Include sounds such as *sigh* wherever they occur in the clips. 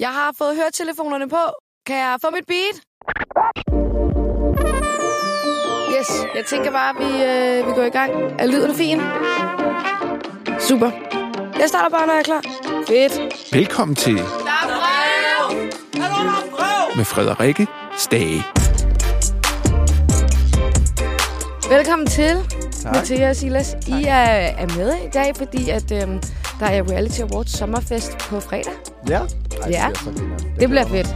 Jeg har fået høretelefonerne på. Kan jeg få mit beat? Yes, jeg tænker bare, at vi, øh, vi går i gang. Er lyden fin? Super. Jeg starter bare, når jeg er klar. Fedt. Velkommen til Der er brev! med Frederikke Stage. Velkommen til, tak. Mathia og Silas. Tak. I er, er med i dag, fordi at, øhm, der er Reality Awards sommerfest på fredag. Ja. Ja. bliver så grineren. Det bliver fedt.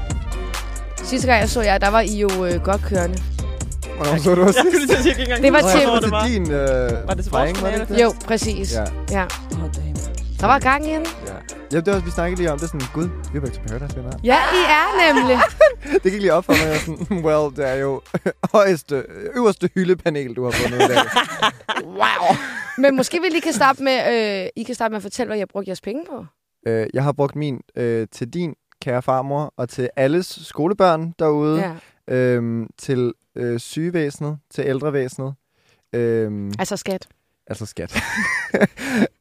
Sidste gang jeg så jer, der var I jo øh, godt kørende. Hvornår så du også Jeg skulle lige til at sige, jeg kan ikke Det var engang til- huske, hvornår det var. din øh, Var det til vores dreng, var det finale? ikke det? Jo, præcis. Ja, Ja. ja. Der var gang i den. ja. ja, det var, vi snakkede lige om, det er sådan, gud, vi er back to paradise, venner. *laughs* Ja, I er nemlig. Det gik lige op for mig, jeg var sådan, hmm, well, det er jo *laughs* højeste, øverste hyldepanel, du har fundet i dag. Men måske vi lige kan starte med, øh, I kan starte med at fortælle, hvad jeg brugte jeres penge på. øh, jeg har brugt min øh, til din kære farmor, og til alles skolebørn derude, ja. Ja. øhm, til øh, sygevæsenet, til ældrevæsenet. Øhm, Altså skat. Altså skat. *laughs*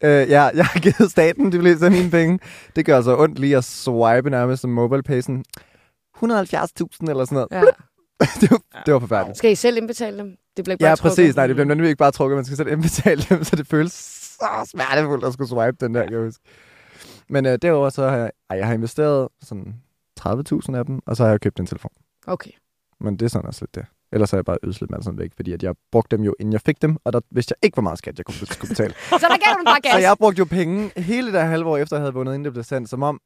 øh, ja, jeg har givet staten de fleste af mine penge. Det gør altså ondt lige at swipe nærmest som mobile pay, sådan 170.000 eller sådan noget. Ja. *laughs* det, var, det var forfærdeligt. Skal I selv indbetale dem? Det bliver ikke Ja, bare trukket. Mm. præcis. Nej, det bliver nemlig ikke bare trukket. Man skal selv indbetale dem, så det føles så smertefuldt at skulle swipe den der, kan jeg huske. Men øh, derover så har jeg, ej, jeg har investeret sådan 30.000 af dem, og så har jeg købt en telefon. Okay. Men det er sådan også lidt det. Ellers har jeg bare ødslet mig sådan væk, fordi at jeg brugte dem jo, inden jeg fik dem, og der vidste jeg ikke, hvor meget skat jeg kunne skulle betale. Så der gav du den bare gas. Så jeg brugte jo penge hele det der halve år efter, jeg havde vundet, inden det blev sendt, som om,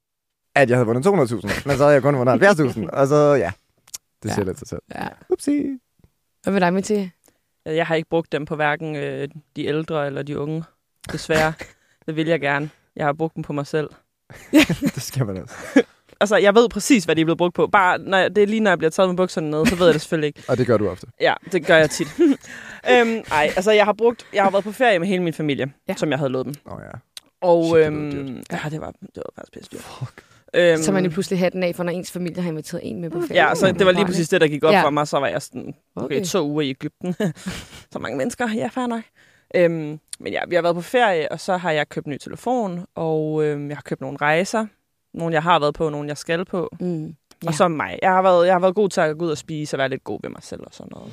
at jeg havde vundet 200.000. Men så havde jeg kun vundet 70.000. Og så, ja, det siger Ja. ja. lidt sig selv. Ja. Upsi. Hvad med dig, Mathia? det var. Altså, Jeg har ikke brugt dem på hverken øh, de ældre eller de unge. *laughs* Desværre. det vil jeg gerne. Jeg har brugt dem på mig selv. Det skal man også. Altså, jeg ved præcis, hvad de er blevet brugt på. Bare, når jeg, det er lige når jeg bliver taget med bukserne ned, så ved jeg det selvfølgelig ikke. Og det gør du ofte. Ja, det gør jeg *laughs* tit. øhm, ej, altså, jeg har brugt... Jeg har været på ferie med hele min familie, Ja. ja. som jeg havde lovet dem. Nå ja. Og Shit, det lyder øhm, dyrt. ja, det var, det var faktisk pisse dyrt. Fuck. Øhm, Så man lige pludselig hatten af, for når ens familie har inviteret en med på ferie. Ja, så det var lige præcis det, der gik op Ja. ja. for mig. Så var jeg sådan, okay, Okay. okay. to uger i Ægypten. *laughs* så mange mennesker, ja, fair nok. Øhm, men ja, vi har været på ferie, og så har jeg købt ny telefon, og øhm, jeg har købt nogle rejser. Nogle, jeg har været på, nogle, jeg skal på. Mm. Ja. Ja. Og så mig. Jeg har, været, jeg har været god til at gå ud og spise og være lidt god ved mig selv og sådan noget.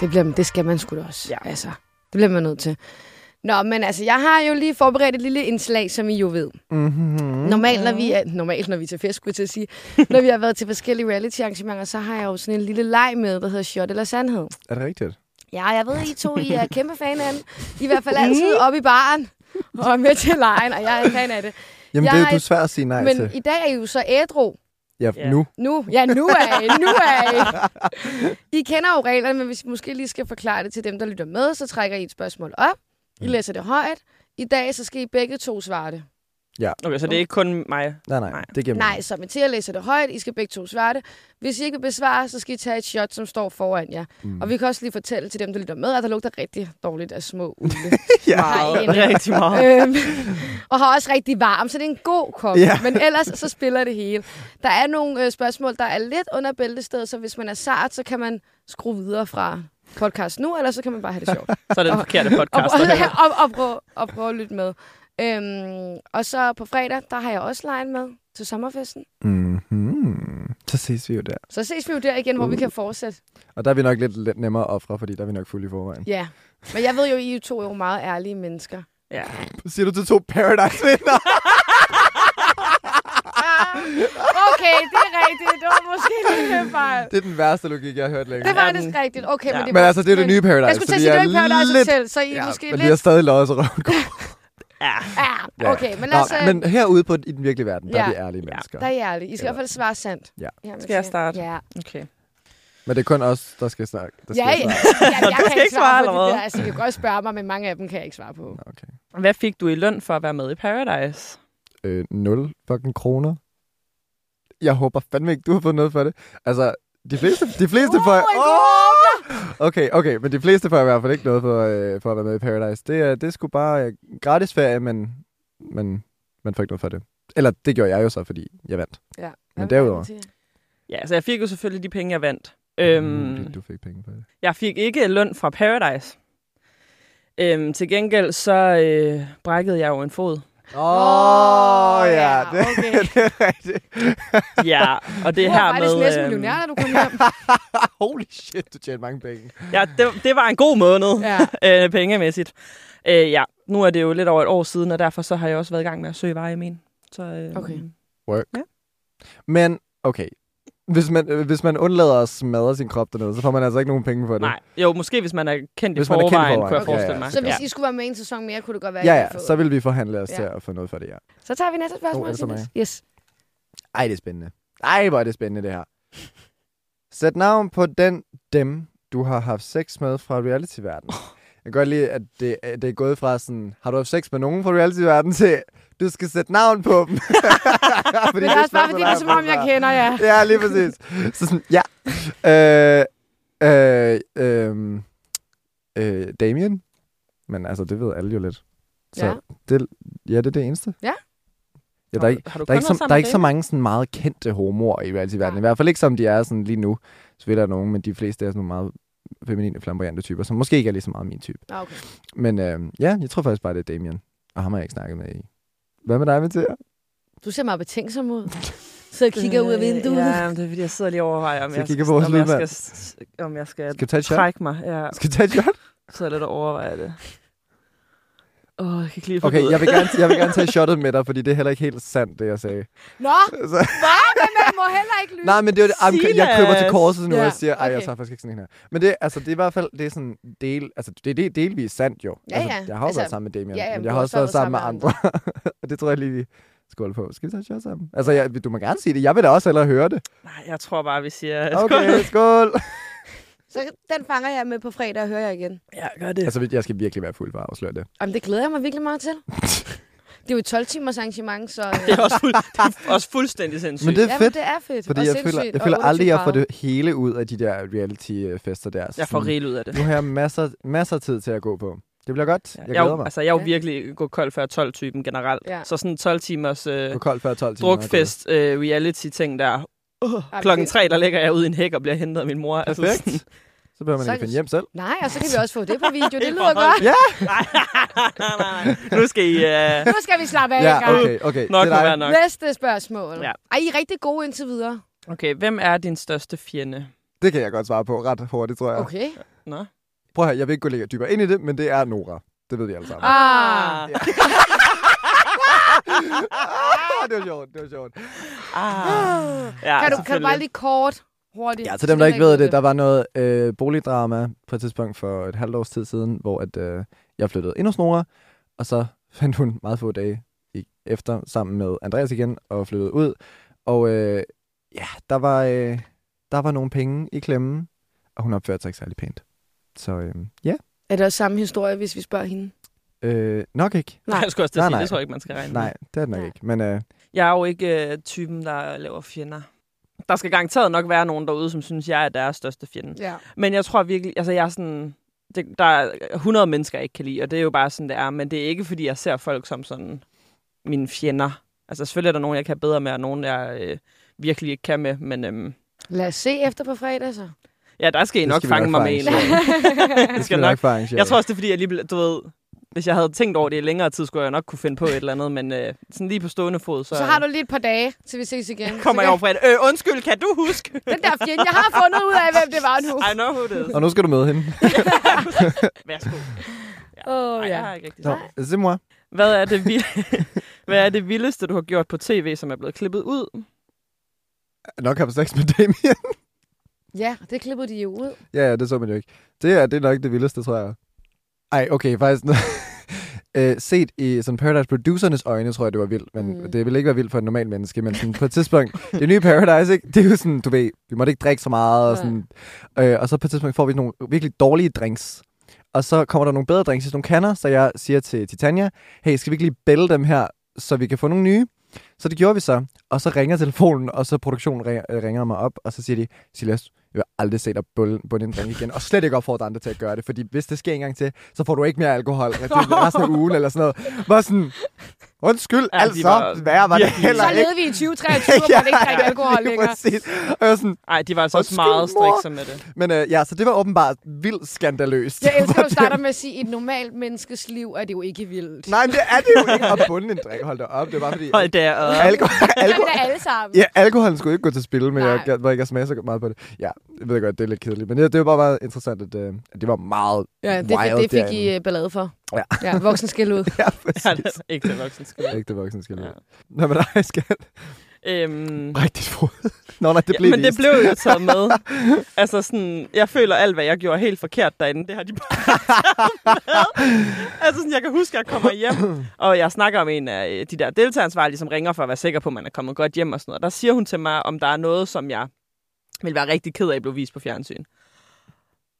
Det, bliver, det skal man sgu da også. Ja. Ja. Altså, det bliver man nødt til. Nå, men altså, jeg har jo lige forberedt et lille indslag, som I jo ved. Mm-hmm. Normalt, når vi er, normalt, når vi er til fest, skulle jeg til at sige. *laughs* når vi har været til forskellige reality-arrangementer, så har jeg jo sådan en lille leg med, der hedder Shot eller Sandhed. Er det rigtigt? Ja, jeg ved, I to I *laughs* er kæmpe fan af den. I, er i hvert fald altid oppe i baren og er med til lejen, og jeg er en fan af det. Jamen, Jeg det er har jo du ikke- svært at sige nej Men til. i dag er I jo så ædru. Ja, Ja. nu. Nu, ja, nu er I, nu er I. I kender jo reglerne, men hvis I måske lige skal forklare det til dem, der lytter med, så trækker I et spørgsmål op. I læser det højt. I dag, så skal I begge to svare det. Okay, så det er ikke kun mig. Nej, nej, Nej. det giver Nej, så men til at læse det højt, I skal begge to svare det. Hvis I ikke vil besvare, så skal I tage et shot, som står foran jer. Mm. Og vi kan også lige fortælle til dem, der lytter med, at der lugter rigtig dårligt af små ugle. Ja. Meget. Rigtig meget. øhm, *laughs* og har også rigtig varm, så det er en god kop. Ja. Ja. Men ellers så spiller det hele. Der er nogle øh, spørgsmål, der er lidt under bæltestedet, så hvis man er sart, så kan man skrue videre fra podcast nu, eller så kan man bare have det sjovt. Så er det den forkerte Og, podcast. der *laughs* hører. og, og, prøve, og prøve at lytte med. Øhm, og så på fredag, der har jeg også lejen med til sommerfesten. Mm-hmm. Så ses vi jo der. Så ses vi jo der igen, hvor Mm. vi kan fortsætte. Og der er vi nok lidt, lidt nemmere at ofre, fordi der er vi nok fulde i forvejen. Ja. Men jeg ved jo, I er to er jo meget ærlige mennesker. Ja. Siger du til to Paradise-vinder? Ah! Okay, det er rigtigt. Det var måske lige en fejl. det er den værste logik, jeg har hørt længe. Det var faktisk Jamen. rigtigt. Okay, ja. men Ja. det Men altså, det er jo det nye Paradise. Jeg skulle til at så sige, vi det er ikke Paradise lidt- Hotel, så I er Ja, måske men lidt... vi har stadig løjet så rundt. ja. Ja, okay, men lad os... Nå, øh, men herude på, i den virkelige verden, der Ja. er vi ærlige mennesker. Der er I ærlige. I skal i hvert fald svare sandt. Ja. men Skal jeg siger- starte? Ja. Okay. Men det er kun os, der skal snakke. Der skal Ja, ja. Snakke. ja jeg *laughs* kan skal ikke ikke svare, svare på eller det der. hvad? Altså, I kan godt spørge mig, men mange af dem kan jeg ikke svare på. Okay. Hvad fik du i løn for at være med i Paradise? Øh, 0 fucking kroner. Jeg håber fandme ikke, du har fået noget for det. Altså, de fleste, de fleste Uh, får... en god Åh! Okay, okay, men de fleste får i hvert fald ikke noget for, øh, for at være med i Paradise. Det, er- det er sgu bare øh, gratis ferie, men, men man får ikke noget for det. Eller det gjorde jeg jo så, fordi jeg vandt. Ja. Men derudover. Ja, så jeg fik jo selvfølgelig de penge, jeg vandt. Øhm, Du fik penge for det. jeg fik ikke løn fra Paradise. Øhm, til gengæld så øh, brækkede jeg jo en fod. Åh, oh, ja. Det, *laughs* okay. det er rigtigt. *laughs* Ja, og det Du var er her faktisk med... næsten øhm, millionær, da du kom hjem. *laughs* Holy shit, du tjener mange penge. ja, det, det var en god måned, Ja. ja. øh, pengemæssigt. Øh, ja, nu er det jo lidt over et år siden, og derfor så har jeg også været i gang med at søge veje min. Så, øh, Okay. Work. Ja. Men, okay. Hvis man, øh, hvis man undlader at smadre sin krop dernede, så får man altså ikke nogen penge for det. Nej, jo, måske hvis man er kendt Hvis i man er kendt i forvejen, forvejen, kunne jeg ja, forestille ja. mig. Så hvis ja. I skulle være med en sæson mere, kunne det godt være, Ja, I ja, havde fået- så vil vi forhandle os Ja. til at få noget for det, ja. Så tager vi næste spørgsmål. Oh, ellers er Dennis. mig. yes. Ej, det er spændende. Ej, hvor er det spændende, det her. *laughs* Sæt navn på den dem, du har haft sex med fra reality-verdenen. Jeg kan godt lide, at det, at det er gået fra sådan, har du haft sex med nogen fra reality-verdenen, til du skal sætte navn på dem. *laughs* fordi Men det er også bare, fordi det er som om, jeg kender. kender jer. Ja, lige præcis. Så sådan, ja. Øh, øh, øh, øh, Damien. Men altså, det ved alle jo lidt. Ja. Så ja. Det, ja, det er det eneste. Ja. Ja, der er ikke, har du der er ikke, kun været så, sammen der er med ikke så mange sådan meget kendte homoer i reality-verdenen. I hvert fald ikke som de er sådan lige nu. Så ved der nogen, men de fleste er sådan nogle meget feminine, flamboyante typer, som måske ikke er lige så meget min type. Nå, Ah, okay. Men øh, ja, jeg tror faktisk bare, det er Damien. Og ham har jeg ikke snakket med i. Hvad med dig, Mathia? Du ser meget betænksom *laughs* ud. Så David? kigger ud af vinduet. Ja, men det er fordi, jeg sidder lige og overvejer, om Skal jeg jeg, kigge på vores om jeg lydmand? skal, s- om jeg skal, Skal vi tage et shot? trække mig. Ja, jeg Skal vi tage et shot? sidder lidt og overvejer det. Åh, oh, jeg kan ikke lige få Okay, det ud. jeg vil, gerne, jeg vil gerne tage shottet med dig, fordi det er heller ikke helt sandt, det jeg sagde. Nå, Så, hva? Men man må heller ikke lytte. *laughs* nej, men det var det. Ej, men jeg køber til Silas! korset nu, og Ja, jeg siger, ej, jeg okay. tager faktisk ikke sådan en her. Men det, altså, det er i hvert fald, det er sådan del, altså, det, det er delvist sandt jo. Ja, altså, ja. Jeg har jo Altså, været sammen med Damien, ja, ja, men du jeg har har også også været sammen med været andre. *laughs* og det tror jeg lige, vi skål på. Skal vi tage et shot sammen? Altså, jeg, du må gerne sige det. Jeg vil da også hellere høre det. Nej, jeg tror bare, vi siger... Okay, *laughs* skål. Så den fanger jeg med på fredag og hører jeg igen. Ja, gør det. altså, jeg skal virkelig være fuld for at afsløre det. Jamen, det glæder jeg mig virkelig meget til. Det er jo et 12-timers arrangement, *laughs* så... øh, Det er også, fuld, det er også fuldstændig sindssygt. Men det er Jamen, fedt. det er fedt. Fordi og jeg føler, sindssygt, jeg og føler aldrig, jeg får 28 det hele ud af de der reality-fester der. Jeg får Sådan- rigeligt ud af det. Nu har jeg masser, masser af tid til at gå på. Det bliver godt. Jeg Jeg, er glæder jo, mig. altså, jeg er jo Ja. virkelig gå kold før 12-typen generelt. Ja. Ja. Så sådan 12-timers øh, Gå kold før 12 timer. drukfest, øh, reality-ting der. Ej, Uh, klokken det- tre, der ligger jeg ude i en hæk og bliver hentet af min mor. Altså, Perfekt. sådan- *laughs* Så behøver man ikke Så- finde hjem selv. Nej, og så kan vi også få det på video. Det Helt lyder godt. Ja! nej, nej, nej, nej. Nu skal I... Øh, Nu skal vi slappe af Ja, ja, en gang. okay, okay. nok det må er være dig. nok. Næste spørgsmål. Ja. Ja. Ej, I er rigtig gode indtil videre. Okay, hvem er din største fjende? Det kan jeg godt svare på ret hurtigt, tror jeg. Okay. Okay. Nå? Prøv her, jeg vil ikke gå længere dybere ind i det, men det er Nora. Det ved vi alle sammen. Ah. Ja. Ah, *laughs* det var sjovt, det var sjovt. ah. Ja, Kan du, kan du bare selvfølgelig. lige kort, hurtigt? Ja, til dem, der ikke ved det, der var noget øh, boligdrama på et tidspunkt for et halvt års tid siden, hvor at, øh, jeg flyttede ind hos Nora, og så fandt hun meget få dage i- efter sammen med Andreas igen og flyttede ud. Og øh, ja, der var, øh, der var nogle penge i klemmen, og hun opførte sig ikke særlig pænt. Så øh, ja, Er det også samme historie, hvis vi spørger hende? øh, nok ikke. Nej, jeg skulle også til Nej, at sige, nej. det tror jeg ikke, man skal regne med. Nej, det er det nok Nej. ikke. Men øh, Jeg er jo ikke øh, typen, der laver fjender. Der skal garanteret nok være nogen derude, som synes, jeg er deres største fjende. Ja. Men jeg tror virkelig, altså jeg er sådan, det, der er 100 mennesker, jeg ikke kan lide, og det er jo bare sådan, det er. Men det er ikke, fordi jeg ser folk som sådan mine fjender. Altså selvfølgelig er der nogen, jeg kan bedre med, og nogen, jeg øh, virkelig ikke kan med. Men øhm, Lad os se efter på fredag, så. ja, der skal I Det nok skal vi fange nok mig fange. med en. *laughs* eller anden. det Jeg skal skal vi nok nok få arrangeret. Jeg tror også, det er fordi, jeg lige, blev- du ved, hvis jeg havde tænkt over det i længere tid, skulle jeg nok kunne finde på et eller andet, men øh, sådan lige på stående fod, så, så har du lige et par dage, til vi ses *laughs* igen. kommer så jeg over på et, øh, undskyld, kan du huske? *laughs* Den der fjende, jeg har fundet ud af, hvem det var *laughs* nu. I know who it is. Og nu skal du møde hende. Værsgo. Åh, Ej, ja. jeg har ikke rigtig Nå, se mor. Hvad er, det vild... *laughs* Hvad er det vildeste, du har gjort på tv, som er blevet klippet ud? Nok har sex med Damien. Ja, det klippede de jo ud. Ja, ja, det så man jo ikke. Det er, det er nok det vildeste, tror jeg. Ej, okay, faktisk... *laughs* øh, set i sådan Paradise Producers øjne, tror jeg, det var vildt. Men Mm. mm. det ville ikke være vildt for et normalt menneske. Men sådan, på et tidspunkt, det nye Paradise, ikke? det er jo sådan, du ved, vi måtte ikke drikke så meget. Og, sådan, øh, og så på et tidspunkt får vi nogle virkelig dårlige drinks. Og så kommer der nogle bedre drinks i sådan nogle kander, så jeg siger til Titania, hey, skal vi ikke lige bælge dem her, så vi kan få nogle nye? Så det gjorde vi så, og så ringer telefonen, og så produktionen ringer, øh, ringer mig op, og så siger de, Silas, jeg vil aldrig se dig bunde bunde en drink igen, og slet ikke opfordre andre til at gøre det, fordi hvis det sker en gang til, så får du ikke mere alkohol resten resten af ugen, eller sådan noget. Var sådan, undskyld, Ja, ja, de altså, var var, værre var det virkelig- heller Så ikke. *laughs* levede vi i *laughs* 2023, hvor man ikke drikker alkohol lige længere. præcis. Og jeg var sådan, Nej, de var altså også Undskyld, meget mor. strikse med det. men øh, ja, så det var åbenbart vildt skandaløst. *laughs* Jeg elsker, at du Hvordan- starter med at sige, at et normalt menneskes liv er det jo ikke vildt. *laughs* Nej, men det er det jo ikke at bunde en drik. Hold da op, det var fordi... Hold da op. Alkohol, Det er vi alkohol, da alle sammen. ja, alkoholen skulle ikke gå til spil, men Nej. jeg, jeg, jeg, jeg smager så meget på det. Ja, jeg ved godt, det er lidt kedeligt, men det, det var bare meget interessant, at, øh, at det var meget Ja, det, wild det fik derinde. I uh, ballade for. Ja. ja voksen skal *laughs* ud. Ja, *laughs* Ja, præcis. det er ikke det voksen skole. øh, Ægte voksen skal Ja. ja. Nå, men nej, skal Øhm, Rigtigt fod. Nå, nej, det ja, blev men det vist. blev jo *laughs* taget med. altså sådan, jeg føler alt, hvad jeg gjorde helt forkert derinde, det har de bare *laughs* taget med. Altså sådan, jeg kan huske, at jeg kommer hjem, og jeg snakker om en af øh, de der deltageransvarlige, som ringer for at være sikker på, at man er kommet godt hjem og sådan noget. Der siger hun til mig, om der er noget, som jeg ville være rigtig ked af, blev vist på fjernsyn.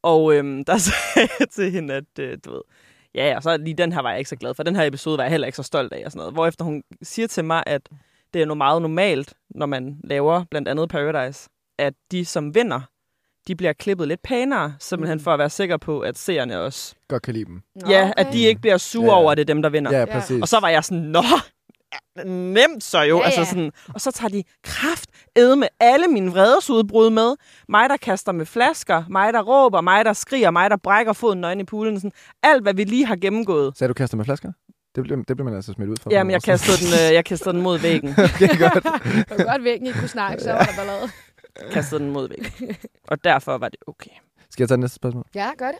Og øhm, *laughs* der sagde jeg til hende, at øh, du ved, ja, ja, så lige den her var jeg ikke så glad for. Den her episode var jeg heller ikke så stolt af og sådan noget. Hvorefter hun siger til mig, at det er nu meget normalt, når man laver blandt andet Paradise, at de, som vinder, de bliver klippet lidt pænere, simpelthen for at være sikker på, at seerne også... Godt kan lide dem. Nå, Okay. Ja, at de ikke bliver sure Ja, ja. over, at det er dem, der vinder. Ja, Ja. præcis. Og så var jeg sådan, nå, ja, nemt så jo. Ja, Ja, altså ja. sådan, og så tager de kraft æde med alle mine vredesudbrud med. Mig, der kaster med flasker, mig, der råber, mig, der skriger, mig, der brækker foden nøgen i poolen. Sådan, alt, hvad vi lige har gennemgået. Sagde du kaster med flasker? Det blev, det blev man altså smidt ud for. Jamen, jeg kastede, den, øh, jeg kastede den mod væggen. *laughs* okay, godt. Det var godt, væk, I ikke kunne snakke, så var der ballade. kastede den mod væggen. Og derfor var det okay. Skal jeg tage næste spørgsmål? Ja, gør det.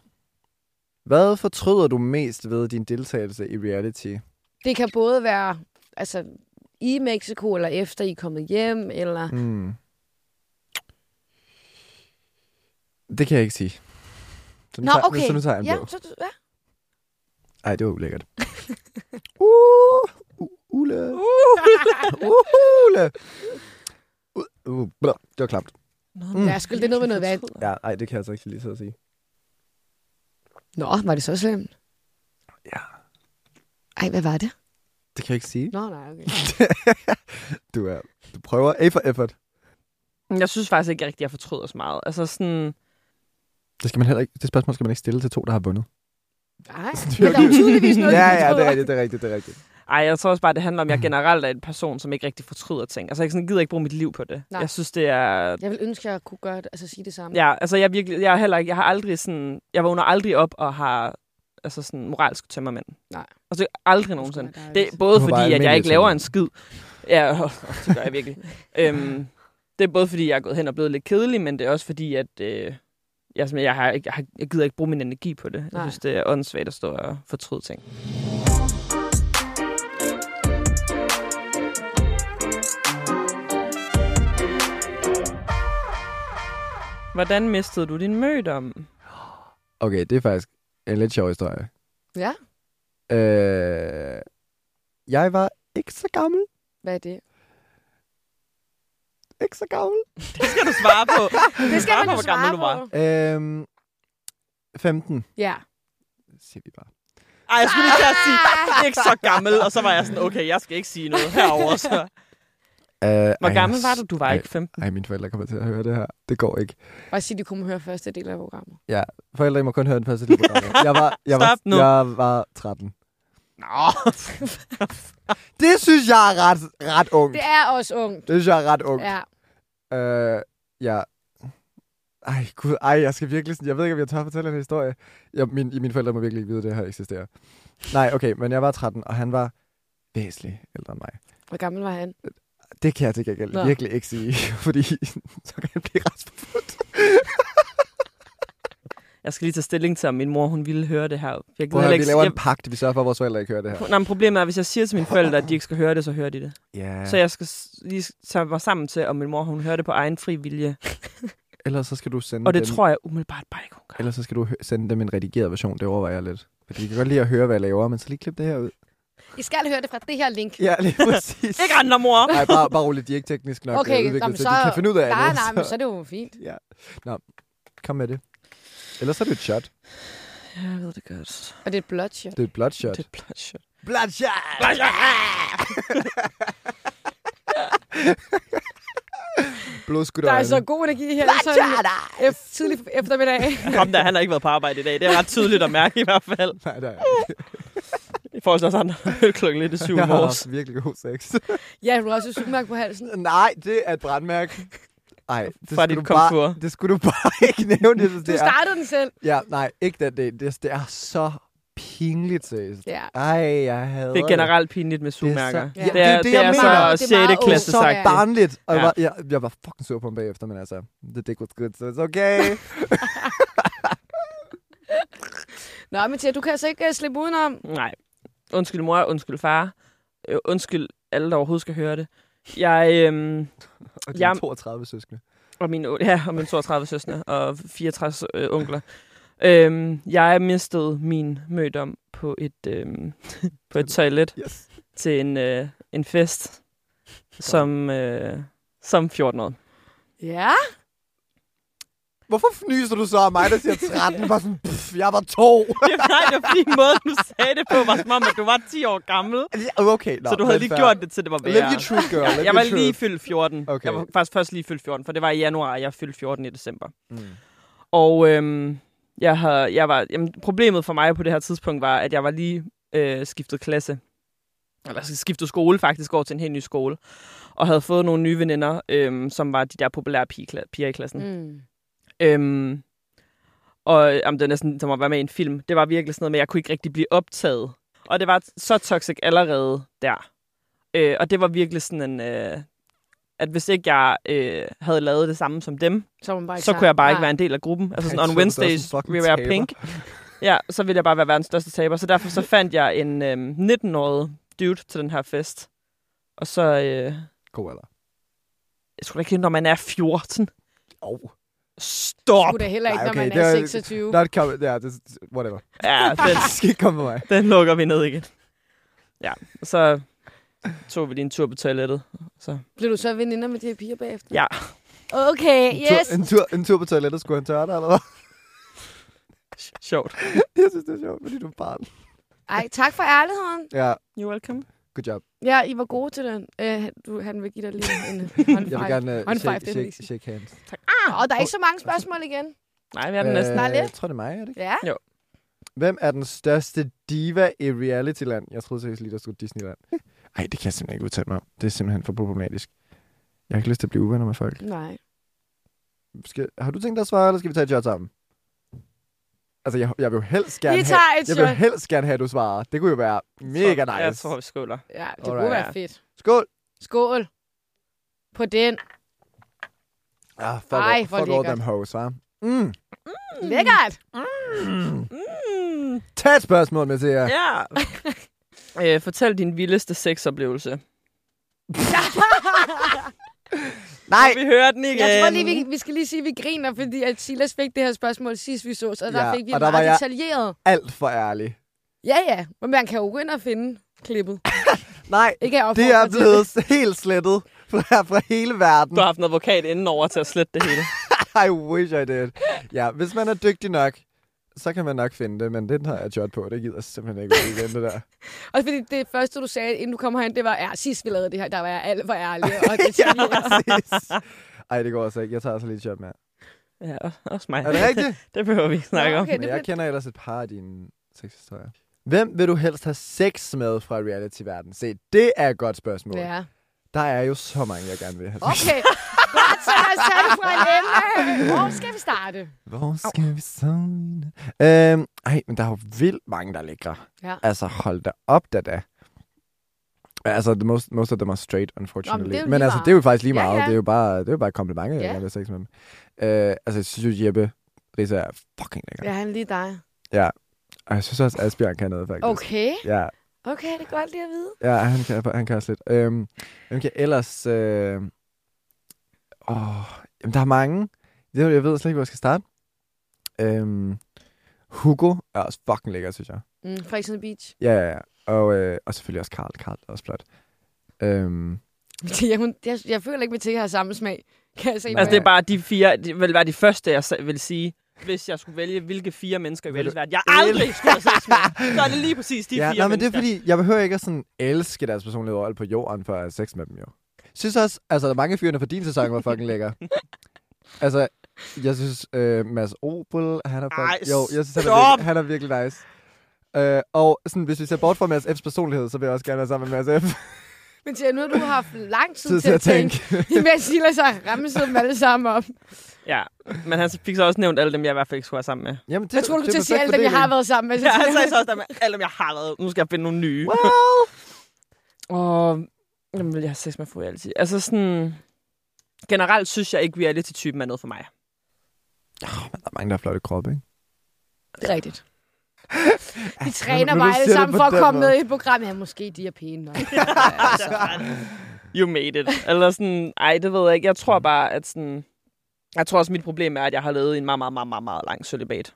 Hvad fortryder du mest ved din deltagelse i reality? Det kan både være altså, i Mexico, eller efter I er kommet hjem, eller... Mm. Det kan jeg ikke sige. Så nu Nå, tager, okay. Så nu tager jeg en ja, blå. så, *laughs* ja. Ej, det var *laughs* ulækkert. uh, u- ule. Uh, *laughs* ule. Uh, uh, blå. det var klamt. Mm. ja skyld, det er noget med noget vand. Ja, ej, det kan jeg så ikke lige så at sige. Nå, var det så slemt? Ja. Ej, hvad var det? Det kan jeg ikke sige. Nå, nej, okay. *laughs* Du, er, du prøver A for effort. Jeg synes faktisk ikke rigtig, jeg fortryder så meget. Altså sådan, Det, skal man heller ikke, det spørgsmål skal man ikke stille til to, der har vundet. *laughs* Nej, men der er jo tydeligvis noget, ja, I ja, det fortryder. er rigtigt, det er rigtigt, det er rigtigt. ej, jeg tror også bare, det handler om, at jeg generelt er en person, som ikke rigtig fortryder ting. Altså, jeg sådan, gider ikke bruge mit liv på det. Nej. Nej. Jeg synes, det er... Jeg vil ønske, at jeg kunne gøre det, altså sige det samme. Ja, altså, jeg, er virkelig, jeg, er heller ikke, jeg har aldrig sådan... Jeg vågner aldrig op og har altså sådan moralsk tømmermænd. Nej. Altså, aldrig Det skulle nogensinde. være Det dejligt. er både Du var bare fordi, at jeg almindelig ikke laver tømmermænd. en skid. Ja, *laughs* det gør jeg virkelig. øhm, det er både fordi, jeg er gået hen og blevet lidt kedelig, men det er også fordi, at øh, jeg, simpelthen- jeg, har, ikke- jeg, har, jeg gider ikke bruge min energi på det. Nej. Jeg synes, det er åndssvagt at stå og fortryde ting. Hvordan mistede du din mødom? Okay, det er faktisk en lidt sjov historie. Ja. Øh, jeg var ikke så gammel. Hvad er det? Ikke så gammel. Det skal du svare på. Det skal man på, jo hvor gammel svare du var. på. Øhm, 15, Ja. siger vi bare. Ej, jeg skulle lige til at *laughs* sige, "Jeg er ikke så gammel. Og så var jeg sådan, okay, jeg skal ikke sige noget herover. Så. Øh, Hvor ej, gammel jeg- var du? Du var ej, ikke 15. Ej, mine forældre kommer til at høre det her. Det går ikke. Bare sige, de kunne høre første del af programmet. Forældre I må kun høre den første del af programmet. *laughs* Jeg var, jeg var, Stop nu. jeg var 13. Nå. Det synes jeg er ret, ret ung. Det Det, er også ungt. synes jeg er ret ung. Ja. Øh, ja. Ej, gud, ej, jeg skal virkelig sådan, jeg ved ikke, om jeg tør fortælle en historie. Jeg, min, mine forældre må virkelig ikke vide, at det her eksisterer. Nej, okay, men jeg var 13, og han var væsentligt ældre end mig. Hvor gammel var han? Det kan jeg til gengæld Nå. virkelig ikke sige, *laughs* fordi så kan jeg blive retsforfulgt. *laughs* Jeg skal lige tage stilling til, om min mor hun ville høre det her. Jeg gider Prøv at høre, heller vi ikke... laver en Jeg, pagt, vi sørger for, at vores forældre ikke hører det her. nej, men problemet er, at hvis jeg siger til mine forældre, at de ikke skal høre det, så hører de det. Ja, Ja. Så jeg skal s- lige s- tage mig sammen til, om min mor hun hører det på egen fri vilje. ellers så skal du sende Og det dem, tror jeg umiddelbart bare ikke, hun gør. Ellers så skal du hø- sende dem en redigeret version, det overvejer jeg lidt. Fordi de kan godt lide at høre, hvad jeg laver, men så lige klip det her ud. I skal høre det fra det her link. Ja, *laughs* lige præcis. Ikke andre, mor! Nej, bare, bare roligt, de er ikke teknisk nok okay, Okay, udviklet nå, men til, så- de kan finde ud af Nej, det. nej, men så er det jo fint. Kom med det. Ellers er det et shot. Jeg ved det godt. Og det er et blåt shot. Det er et blot shot. Det er et blot shot. Blot shot! Blodskudt Der er øjne. så god energi her. Sådan, F- tidlig eftermiddag. *laughs* *laughs* Kom der, han har ikke været på arbejde i dag. Det er ret tydeligt at mærke i hvert fald. Nej, der er I forhold til os andre *laughs* klokken lidt i syv jeg har i morges. haft virkelig god sex. Ja, du har også et sygmærke på halsen. *laughs* Nej, det er et brandmærke. Nej, det, Fra skulle dit du bare, komfur. det skulle du bare *laughs* ikke nævne. Jeg synes, Du det er. startede den selv. Ja, nej, ikke den del. Det, det er så pinligt, seriøst. Ja. Ej, jeg havde Det er generelt pinligt med så- sugmærker. Ja. Det er, Det er det, det jeg er mener. så Det er meget 6. klasse åbenbart. sagt. Ja. det. barnligt. Og jeg, Ja. var, jeg, jeg var fucking sur på ham bagefter, men altså, the dick was good, so it's *laughs* okay. Nå, men Tia, du kan altså ikke uh, slippe udenom. Nej. Undskyld mor, undskyld far. Øh, undskyld alle, der overhovedet skal høre det. Jeg øhm, Og de Jamen. 32 søskende. og min, ja, og min 32 søstre og 64 øh, onkler. Øhm, jeg mistede min mødom på et, øhm, *laughs* på et toilet Yes. til en, øh, en fest som, øh, som 14-årig. Ja. Hvorfor fnyser du så af mig, der siger 13? Bare sådan, pff, jeg var to. *laughs* *laughs* Det var, nej, det var fordi måden, du sagde det på, var som om, at du var 10 år gammel. okay, nå, så du havde men lige fair. gjort det til, det var værre. Live your truth, girl. Live jeg your var truth. lige fyldt 14. Okay. Okay. Jeg var faktisk først lige fyldt 14, for det var i januar, og jeg fyldte 14 i december. Mm. Og øhm, jeg havde, jeg var, jamen, problemet for mig på det her tidspunkt var, at jeg var lige øh, skiftet klasse. Eller skiftet skole faktisk, over til en helt ny skole. Og havde fået nogle nye veninder, øhm, som var de der populære pigekla- piger i klassen. Mm. Øhm, og øh, jamen, det var næsten som at være med i en film. Det var virkelig sådan noget med, at jeg kunne ikke rigtig blive optaget. Og det var så toxic allerede der. Øh, og det var virkelig sådan en... Øh, at hvis ikke jeg øh, havde lavet det samme som dem, Så, var man bare ikke så klar. kunne jeg bare ikke Nej. være en del af gruppen. Altså sådan, Ej, on så er du da også en Wednesdays, fucking we wear taber. pink. Ja, så ville jeg bare være verdens største taber. Så derfor så fandt jeg en øh, 19-årig dude til den her fest. Og så... Øh, God alder. jeg skulle da ikke hende, når man er 14. Oh. Stop! Skulle da heller ikke, Nej, når okay, man er det er- 26. Not coming. Ja, det, whatever. Ja, den, Det skal ikke komme med mig. Den lukker vi ned igen. Ja, og så tog vi lige en tur på toilettet. Så. Blev du så veninder med de her piger bagefter? Ja. Okay, En yes. tur, en, tur, en tur på toilettet, skulle han tørre dig, eller hvad? *laughs* Sjovt. Jeg synes, det er sjovt, fordi du er barn. Ej, tak for ærligheden. Ja, You're welcome. good job. Ja, I var gode til den. Øh, du, han vil give dig lige en håndfejl. *laughs* Jeg vil gerne uh, Håndfejl, shake, det er shake, vigtigt. shake hands. Ah, og der er ikke så mange spørgsmål igen. Nej, vi er den Øh, næste. Nej, lidt. jeg tror, det er mig, er det ikke? Ja. Hvem er den største diva i reality-land? Jeg troede seriøst lige, der stod Disneyland. *laughs* Ej, det kan jeg simpelthen ikke udtale mig om. Det er simpelthen for problematisk. Jeg har ikke lyst til at blive uvenner med folk. Nej. Skal, har du tænkt dig at svare, eller skal vi tage et shot sammen? Altså, jeg, jeg vil jo helst gerne Vi have... tager et Jeg vil jo shot. helst gerne have, at du svarer. Det kunne jo være mega Så, nice. Jeg tror, vi skåler. Ja, det Alright. kunne være fedt. Skål! Skål. På den. Ah, fuck, Ej, all- hvor fuck all lækkert. them hoes, hva'? Mm. Lækkert. Mm, Tag et spørgsmål med til jer. ja. *laughs* øh, fortæl din vildeste sexoplevelse. Nej! Vi hører den igen. Jeg tror lige, vi, vi skal lige sige, at vi griner, fordi at Silas fik det her spørgsmål sidst, vi sås, og der Ja, fik vi og en der var meget jeg- detaljeret. Alt for ærlig. Ja, ja. Men man kan jo gå ind og finde klippet. Nej, Ikke at det er opfordre til blevet *laughs* helt slettet fra, fra hele verden. Du har haft en advokat indenover til at slette det hele. *laughs* I wish I did. Ja, hvis man er dygtig nok, så kan man nok finde det, men den har jeg gjort på. Det gider jeg simpelthen ikke ud igen, det der. Og fordi det første, du sagde, inden du kom herind, det var, ja, sidst vi lavede det her, der var jeg alt for ærlig. Og det *laughs* ja, præcis. *laughs* Ej, det går altså ikke. Jeg tager altså lige et job med. Ja, også mig. Er det rigtigt? *laughs* det behøver vi ikke snakke Nå, om. okay. Men jeg kender ellers et par af dine sexhistorier. Hvem vil du helst have sex med fra reality-verden? Se, det er et godt spørgsmål. Ja. Der er jo så mange, jeg gerne vil have sex Okay. Godt, så lad os tage det fra en ende. Hvor skal vi starte? Hvor skal vi så? Øhm, ej, men der er jo vildt mange, der er lækre. Ja. Altså, hold da op, da da. Altså, the most, most of them are straight, Nå, men unfortunately. det er jo men lige altså, meget. det er jo faktisk lige Ja, meget. ja. Det er jo bare, det er jo bare et kompliment, at jeg Ja. gerne vil have sex med dem. Øh, altså, jeg synes jo, Jeppe Risa er fucking lækker. Ja, han er lige dig. Og jeg synes også, Asbjørn kan noget, faktisk. Okay. Ja, Okay, det er godt lige at vide. ja han, kan, han kan også lidt. Øhm, hvem kan ellers... Øh... Åh, jamen, der er mange. Det er jo- Jeg ved slet ikke, hvor jeg skal starte. Øhm, Hugo er også fucking lækker, synes jeg. Mm, fra Island Beach. Ja, ja, ja. Og, øh, og selvfølgelig også Karl. Karl er også flot. Øhm, Ja, hun, jeg, jeg føler ikke, at Mathia har samme smag. Kan jeg se Nej. på Altså, det jer. er bare de fire, det vil være de første, jeg sa- vil sige, hvis jeg skulle vælge, hvilke fire mennesker i Vil du- verdensverden, jeg aldrig skulle have sex med. Så er det lige præcis de ja, fire nej, men det mennesker. er fordi, jeg behøver ikke at sådan elske deres personlighed overalt på jorden, for at have sex med dem jo. synes også, altså der er mange fyrene fra din sæson, var fucking *laughs* lækker. altså, jeg synes, øh, Mads Opel, han er Ej, fucking... Jo, jeg synes, han er, stop! virkelig, han er virkelig nice. Øh, og sådan, hvis vi ser bort fra Mads F's personlighed, så vil jeg også gerne være sammen med Mads F. *laughs* Men til nu har du haft lang tid Tid til at tænke, *laughs* imens I lader sig ramme dem alle sammen op. Ja, men han fik så også nævnt alle dem, jeg i hvert fald ikke skulle være sammen med. Jamen, det, Jeg tror, du det er til at sige perfekt alle dem, jeg har fordeling. altså, været sammen med. *laughs* Ja, han sagde så også *laughs* der med alle dem, jeg har lavet. Nu skal jeg finde nogle nye. Well. *laughs* Og jamen, vil jeg have sex med fru altid. Altså sådan... Generelt synes jeg ikke, reality-typen er noget for mig. Der er mange, der har flotte kroppe, ikke? Det er rigtigt. Vi nu- træner nu bare siger alle altså, du sammen på for at den komme måde. med i et program. Ja, måske de er pæne *laughs* nok. Ja, altså. You made it. Eller sådan, ej, det ved jeg ikke. Jeg tror bare, at sådan... Jeg tror også, mit problem er, at jeg har levet i en meget, meget, meget, meget, meget lang celibat.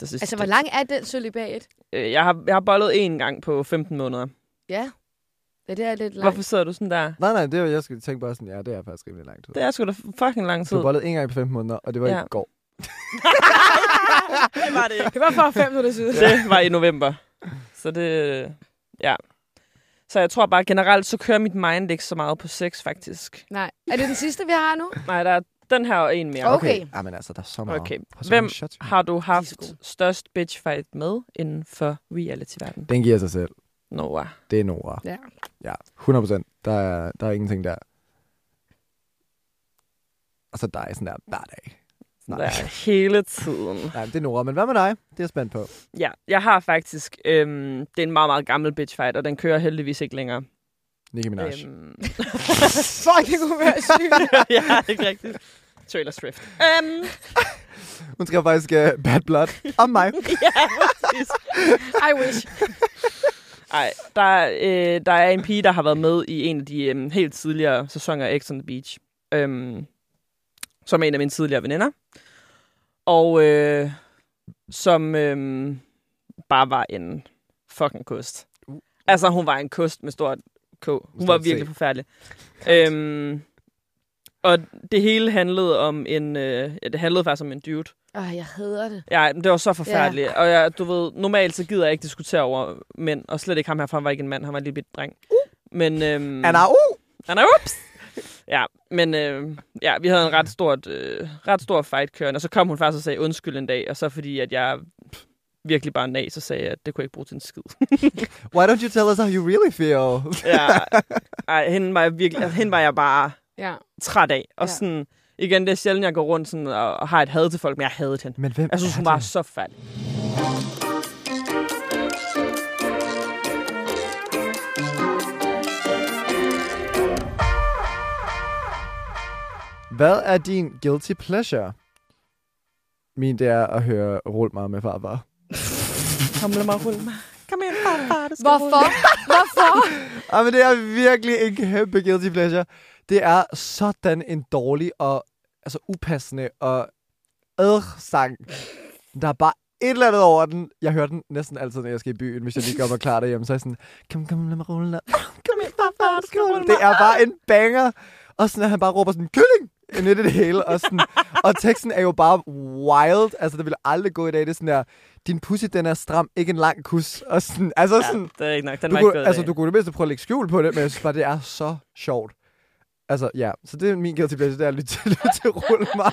Det sidste. altså, hvor lang er den celibat? Øh, Jeg har, jeg har bollet én gang på 15 måneder. Langt. Ja. Ja, det er lidt langt. Hvorfor sidder du sådan der? Nej, nej, det er jo, jeg skulle tænke bare sådan, ja, det er faktisk rimelig lang tid. Det er sgu da fucking lang tid. Du bollede en gang på 15 måneder, og det var ja. Ja. i går. det var det ikke. Det var for fem minutter *laughs* siden. *laughs* Det var i november. Så det... Ja. Så jeg tror bare, generelt, så kører mit mind ikke så meget på sex, faktisk. Nej. Er det den sidste, vi har nu? Nej, der er den her og en mere. Okay. Ja, men altså, der er så meget. Okay. Der er så Hvem mange shots. har du De haft er så størst bitchfight med inden for reality-verden? Den giver sig selv. Noah. Det er Nora. *laughs* Ja. Ja, 100 procent. Der er, der er ingenting der. Og så dig sådan der hver dag. Nej. Der er *laughs* hele tiden. *laughs* Nej, det er Nora. Men hvad med dig? Det er jeg spændt på. Ja, jeg har faktisk... Øhm, det er en meget, meget gammel bitchfight, og den kører heldigvis ikke længere. Nicki Minaj. Øhm. Øhm, *laughs* Fuck, det kunne være sygt. ja, ikke rigtigt. Taylor Swift. Øhm, *laughs* Hun skrev faktisk uh, Bad Blood om mig. *laughs* ja, præcis. I wish. *laughs* Ej, der, øh, der er en pige, der har været med i en af de øh, helt tidligere sæsoner af X on the Beach. Øhm, som er en af mine tidligere veninder. Og øh, som øh, bare var en fucking kost. Altså, hun var en kost med stort K. Hun var Stort C. virkelig forfærdelig. Øhm, og det hele handlede om en... Øh, ja, det handlede faktisk om en dude, Åh, jeg hader det. Ja, men det var så forfærdeligt. Og jeg, du ved, normalt så gider jeg ikke diskutere over mænd, og slet ikke ham her, for han var ikke en mand, han var en lille bitte dreng. Uh. Men, øhm, Anna, uh! han er ups! Ja, men øh, ja, vi havde en ret, stort, øh, ret stor fight kørende, og så kom hun faktisk og sagde undskyld en dag, og så fordi, at jeg pff, virkelig bare nag, så sagde jeg, at det kunne jeg ikke bruge til en skid. Why don't you tell us how you really feel? *laughs* ja, *laughs* ej, hende var jeg, virkelig, altså, hende var jeg bare Ja. træt af. Og Ja. ja. sådan, igen, det er sjældent, jeg går rundt sådan, og, og har et had til folk, men jeg havde hende. Men hvem Jeg synes, er hun det? var så færdig. Hvad er din guilty pleasure? Min, det er at høre Rul mig med farfar. Kom, lad mig rulle mig. Kom ind, farfar, du skal Hvorfor? Hvorfor? Ej, men det er virkelig en kæmpe guilty pleasure. Det er sådan en dårlig og altså upassende og øh, sang. Der er bare et eller andet over den. Jeg hører den næsten altid, når jeg skal i byen, hvis jeg lige kommer klar derhjemme. Så er jeg sådan, kom, kom, lad mig rulle. dig. Kom her, farfar, du skal rulle mig. Det er bare en banger. Og sådan, at han bare råber sådan, kylling! Ind i det hele. Og, sådan, og teksten er jo bare wild. Altså, det ville aldrig gå i dag. Det er sådan der, din pussy, den er stram, ikke en lang kus. Og sådan, altså Ja, sådan, det er ikke nok. Den du var ikke kunne, gået altså, altså, du kunne det mindste prøve at lægge skjul på det, men jeg synes bare, det er så sjovt. Altså, ja. Så det er min guilty pleasure, det er at lytte til, *laughs* lytte til rulle mig.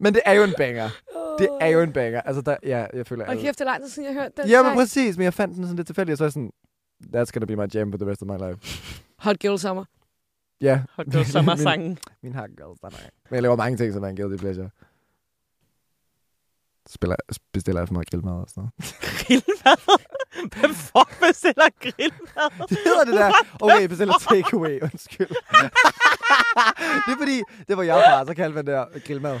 Men det er jo en banger. *laughs* Det er jo en banger. Altså, der, ja, jeg føler... Og kæft, det er lang tid siden, jeg hørte den. ja, men sang. præcis. Men jeg fandt den sådan lidt tilfældigt, og så er jeg sådan... That's gonna be my jam for the rest of my life. Hot Girl Summer. Ja, *laughs* Hold da, sommersangen. min har girls, der er Men jeg laver mange ting, som er en guilty pleasure. Spiller, bestiller jeg for meget grillmad og sådan noget. Grillmad. Hvem får bestiller grillmad? Det hedder det *laughs* der. Okay, bestiller takeaway. Undskyld. *laughs* det er fordi, det var jeg fra, så kaldte man det der grillmad. Hvem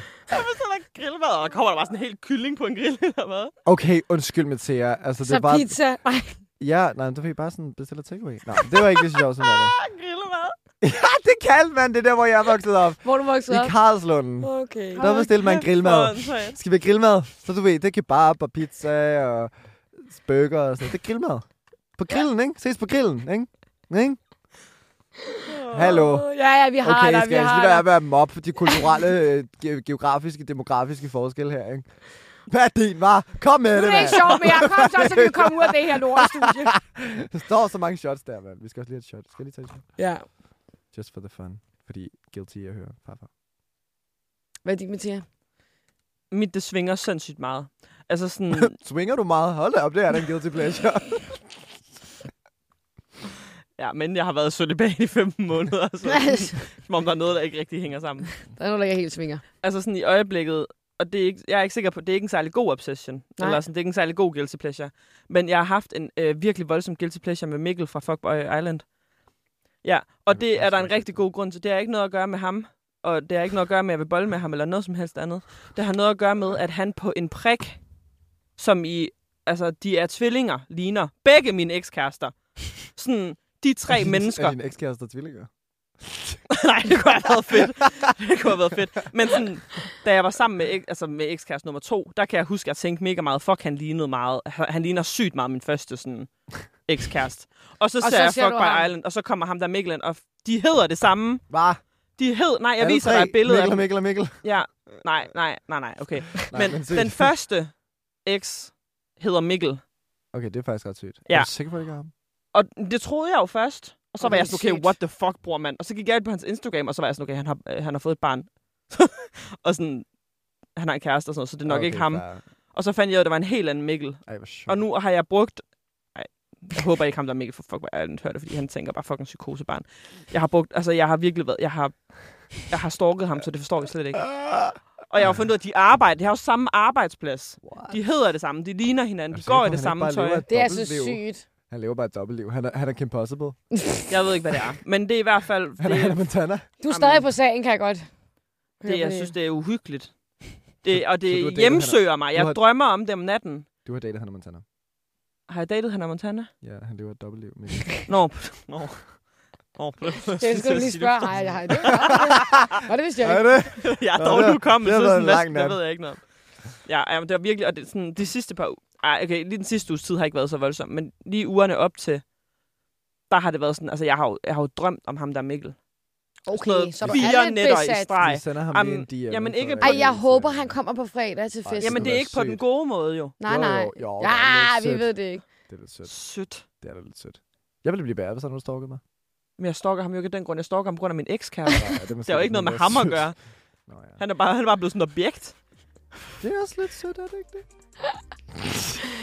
bestiller grillmad? Og der kommer der bare sådan en hel kylling på en grill, *laughs* eller hvad? Okay, undskyld, Mathia. Altså, det Så er bare... pizza. Nej, Ja, nej, men du fik bare sådan bestille takeaway. Nej, det var ikke lige så sjovt, som det var. Ah, grillmad. Ja, Ah, det kaldte man det der, hvor jeg er vokset op. hvor er du vokset I op. Karlslunden. Okay. Der bestilte man grillmad. Åndssvagt. Skal vi have grillmad? Så du ved, det er kebab og pizza og burger og sådan noget. Det er grillmad. På grillen, ikke? Ses på grillen, ikke? Ikke? Hallo. Ja, ja, vi har Okay, dig, skal vi jeg har lige være dig. med at mobbe de kulturelle, øh, ge- geografiske, demografiske forskelle her, ikke? Hvad er din, var? Kom Nu med det, er det ikke mand! sjovt mere. Kom så, så vi kan komme ud af det *laughs* her lortestudie. Der står så mange shots der, mand. Vi skal også lige have et shot. Skal jeg lige tage et shot? Ja. Just for the fun. Fordi guilty, jeg hører farfar. Hvad er dit, *laughs* Mathia? Mit, det svinger sindssygt meget. Altså sådan, *laughs* Swinger du meget? Hold da op, det er da en guilty pleasure. ja, men jeg har været celibat i 15 måneder, *laughs* så *laughs* sådan, som om der er noget, der ikke rigtig hænger sammen. der er noget, der ikke helt svinger. Altså sådan i øjeblikket, og det er ikke, jeg er ikke sikker på, det er ikke en særlig god obsession, Nej. Nej. eller sådan, det er ikke en særlig god guilty pleasure. Men jeg har haft en øh, virkelig voldsom guilty pleasure med Mikkel fra Fuckboy Island. Ja, og det er der en rigtig god grund til. Det har ikke noget at gøre med ham, og det har ikke noget at gøre med, at jeg vil bolle med ham, eller noget som helst andet. Det har noget at gøre med, at han på en prik, som i, altså, de er tvillinger, ligner begge mine ekskærester. Sådan, de *laughs* *laughs* tre mennesker. Er din ekskæreste tvillinger? *laughs* Nej, det kunne have været fedt. Det kunne have været fedt. Men sådan, da jeg var sammen med, ek- altså med ekskæreste nummer to, der kan jeg huske, at jeg tænkte mega meget, fuck, han lignede meget. Han han ligner sygt meget min første sådan, ekskæreste. Og så så ser jeg ser Fuck du by ham. Island, og så kommer ham der Mikkel, ind, og f- de hedder det samme. Hvad? De hed, nej, jeg viser dig et billede Mikkel, af dem. Mikkel og Mikkel. Ja, nej, nej, nej, nej, okay. Nej, Men se. den første eks hedder Mikkel. Okay, det er faktisk ret sygt. Ja. Er du sikker på, at det ikke er ham? Og det troede jeg jo først. Og så var Okay, jeg sådan, okay, shit. what the fuck, bror mand? Og så gik jeg ind på hans Instagram, og så var jeg sådan, okay, han har, øh, han har fået et barn. *laughs* og sådan, han har en kæreste og sådan noget, så det er nok okay, Okay, ikke ham. fair. Og så fandt jeg ud af, at der var en helt anden Mikkel. Ej, hvor sjovt. Ah! Og nu har jeg brugt... Ej, jeg håber ikke ham, der er Mikkel for fuck, hvor jeg hører det, fordi han tænker bare fucking psykosebarn. Jeg har brugt... Altså, jeg har virkelig været... Jeg har, jeg har stalket ham, så det forstår jeg slet ikke. Og jeg har jo fundet ud af, at de arbejder. De har jo samme arbejdsplads. What? Altså, De hedder det samme. De ligner hinanden. De går i det samme tøj. Det er så sygt. Han lever bare et dobbeltliv. Han er, han er Kim Possible. Jeg ved ikke, hvad det er. Men det er i hvert fald... *laughs* Han er det- Hannah Montana. Du er Jamen. stadig på sagen, kan jeg godt. høre Det, på jeg synes, det er uhyggeligt. Det, og så du har det datet hjemsøger mig. du Jeg har- drømmer om det om natten. Du har datet Hannah Montana. Har jeg datet Hannah Montana? Ja, han lever et dobbeltliv. *laughs* Men... Nå. p- Nå. *laughs* Nå. p- Det skal du *laughs* lige spørge. Nej, jeg har det. var godt. Nå, det vidste jeg Er *laughs* ikke. det? jeg er Nå, dog det- nu kommet, det har så været en sådan, lang lang nat. det ved jeg ikke noget om. Ja, ja men det var virkelig... Og det, er sådan, de sidste par... u- Ej, okay, lige den sidste uges tid har ikke været så voldsom, men lige ugerne op til, der har det været sådan... Altså, jeg har jo, jeg har jo drømt om ham, der er Mikkel. Okay, så du er fire lidt nætter i besat. streg. Vi sender ham Am- lige en DM. jamen, for ikke at- Ej, jeg håber, han kommer på fredag til Ej, festen. Jamen, det er være ikke på den sygt. gode måde, jo. Nej, Jo, nej. jo, jo, Ja, det er lidt vi sødt. ved det ikke. Det er lidt sødt. Sødt. Det er da lidt sødt. Jeg ville blive bæret, hvis han nu stalkede *laughs* mig. Men jeg stalker ham jo ikke af den grund. Jeg stalker ham på grund af min ekskæreste. Nej, er Det har jo ikke noget med ham at gøre. Nå, ja. Han er bare, han er bare blevet sådan et objekt. Det er også lidt sødt, er det ikke det?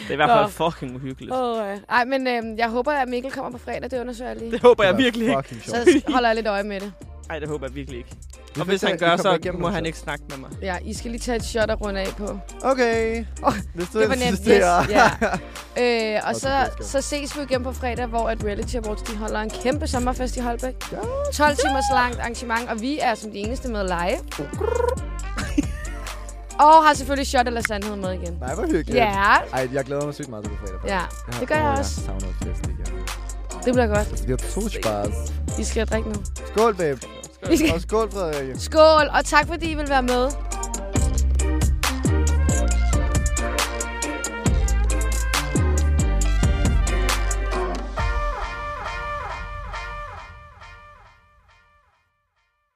Det er i hvert fald fald fucking uhyggeligt. Åh, ja. Ej, men øhm, jeg håber, at Mikkel kommer på fredag. Det undersøger jeg lige. Det håber jeg Det er virkelig ikke. Fucking sjovt. Så holder jeg lidt øje med det. Nej, det håber jeg virkelig ikke. Vi Og fik hvis det, han vi gør, kommer så igennem må det, han ikke snakke med mig. Ja, I skal lige tage et shot og runde af på. Okay. Åh, Hvis du Det var nemt, yes. Ja. *laughs* Øh, og Og så, det skal. så ses vi igen på fredag, hvor at Reality Awards de holder en kæmpe sommerfest i Holbæk. Ja. 12 timers langt arrangement, og vi er som de eneste med *laughs* live. Og har selvfølgelig shot eller sandhed med igen. Nej, hvor hyggeligt. Ja, Ej, jeg glæder mig sygt meget til på fredag. ja. har- Det gør jeg Åh, også. Jeg savner det næsten ikke. det bliver godt. Altså, vi har to spars. Vi skal drikke nu. Skål, babe. Vi skal... *laughs* Og skål, Frederik. Skål, og tak fordi I vil være med.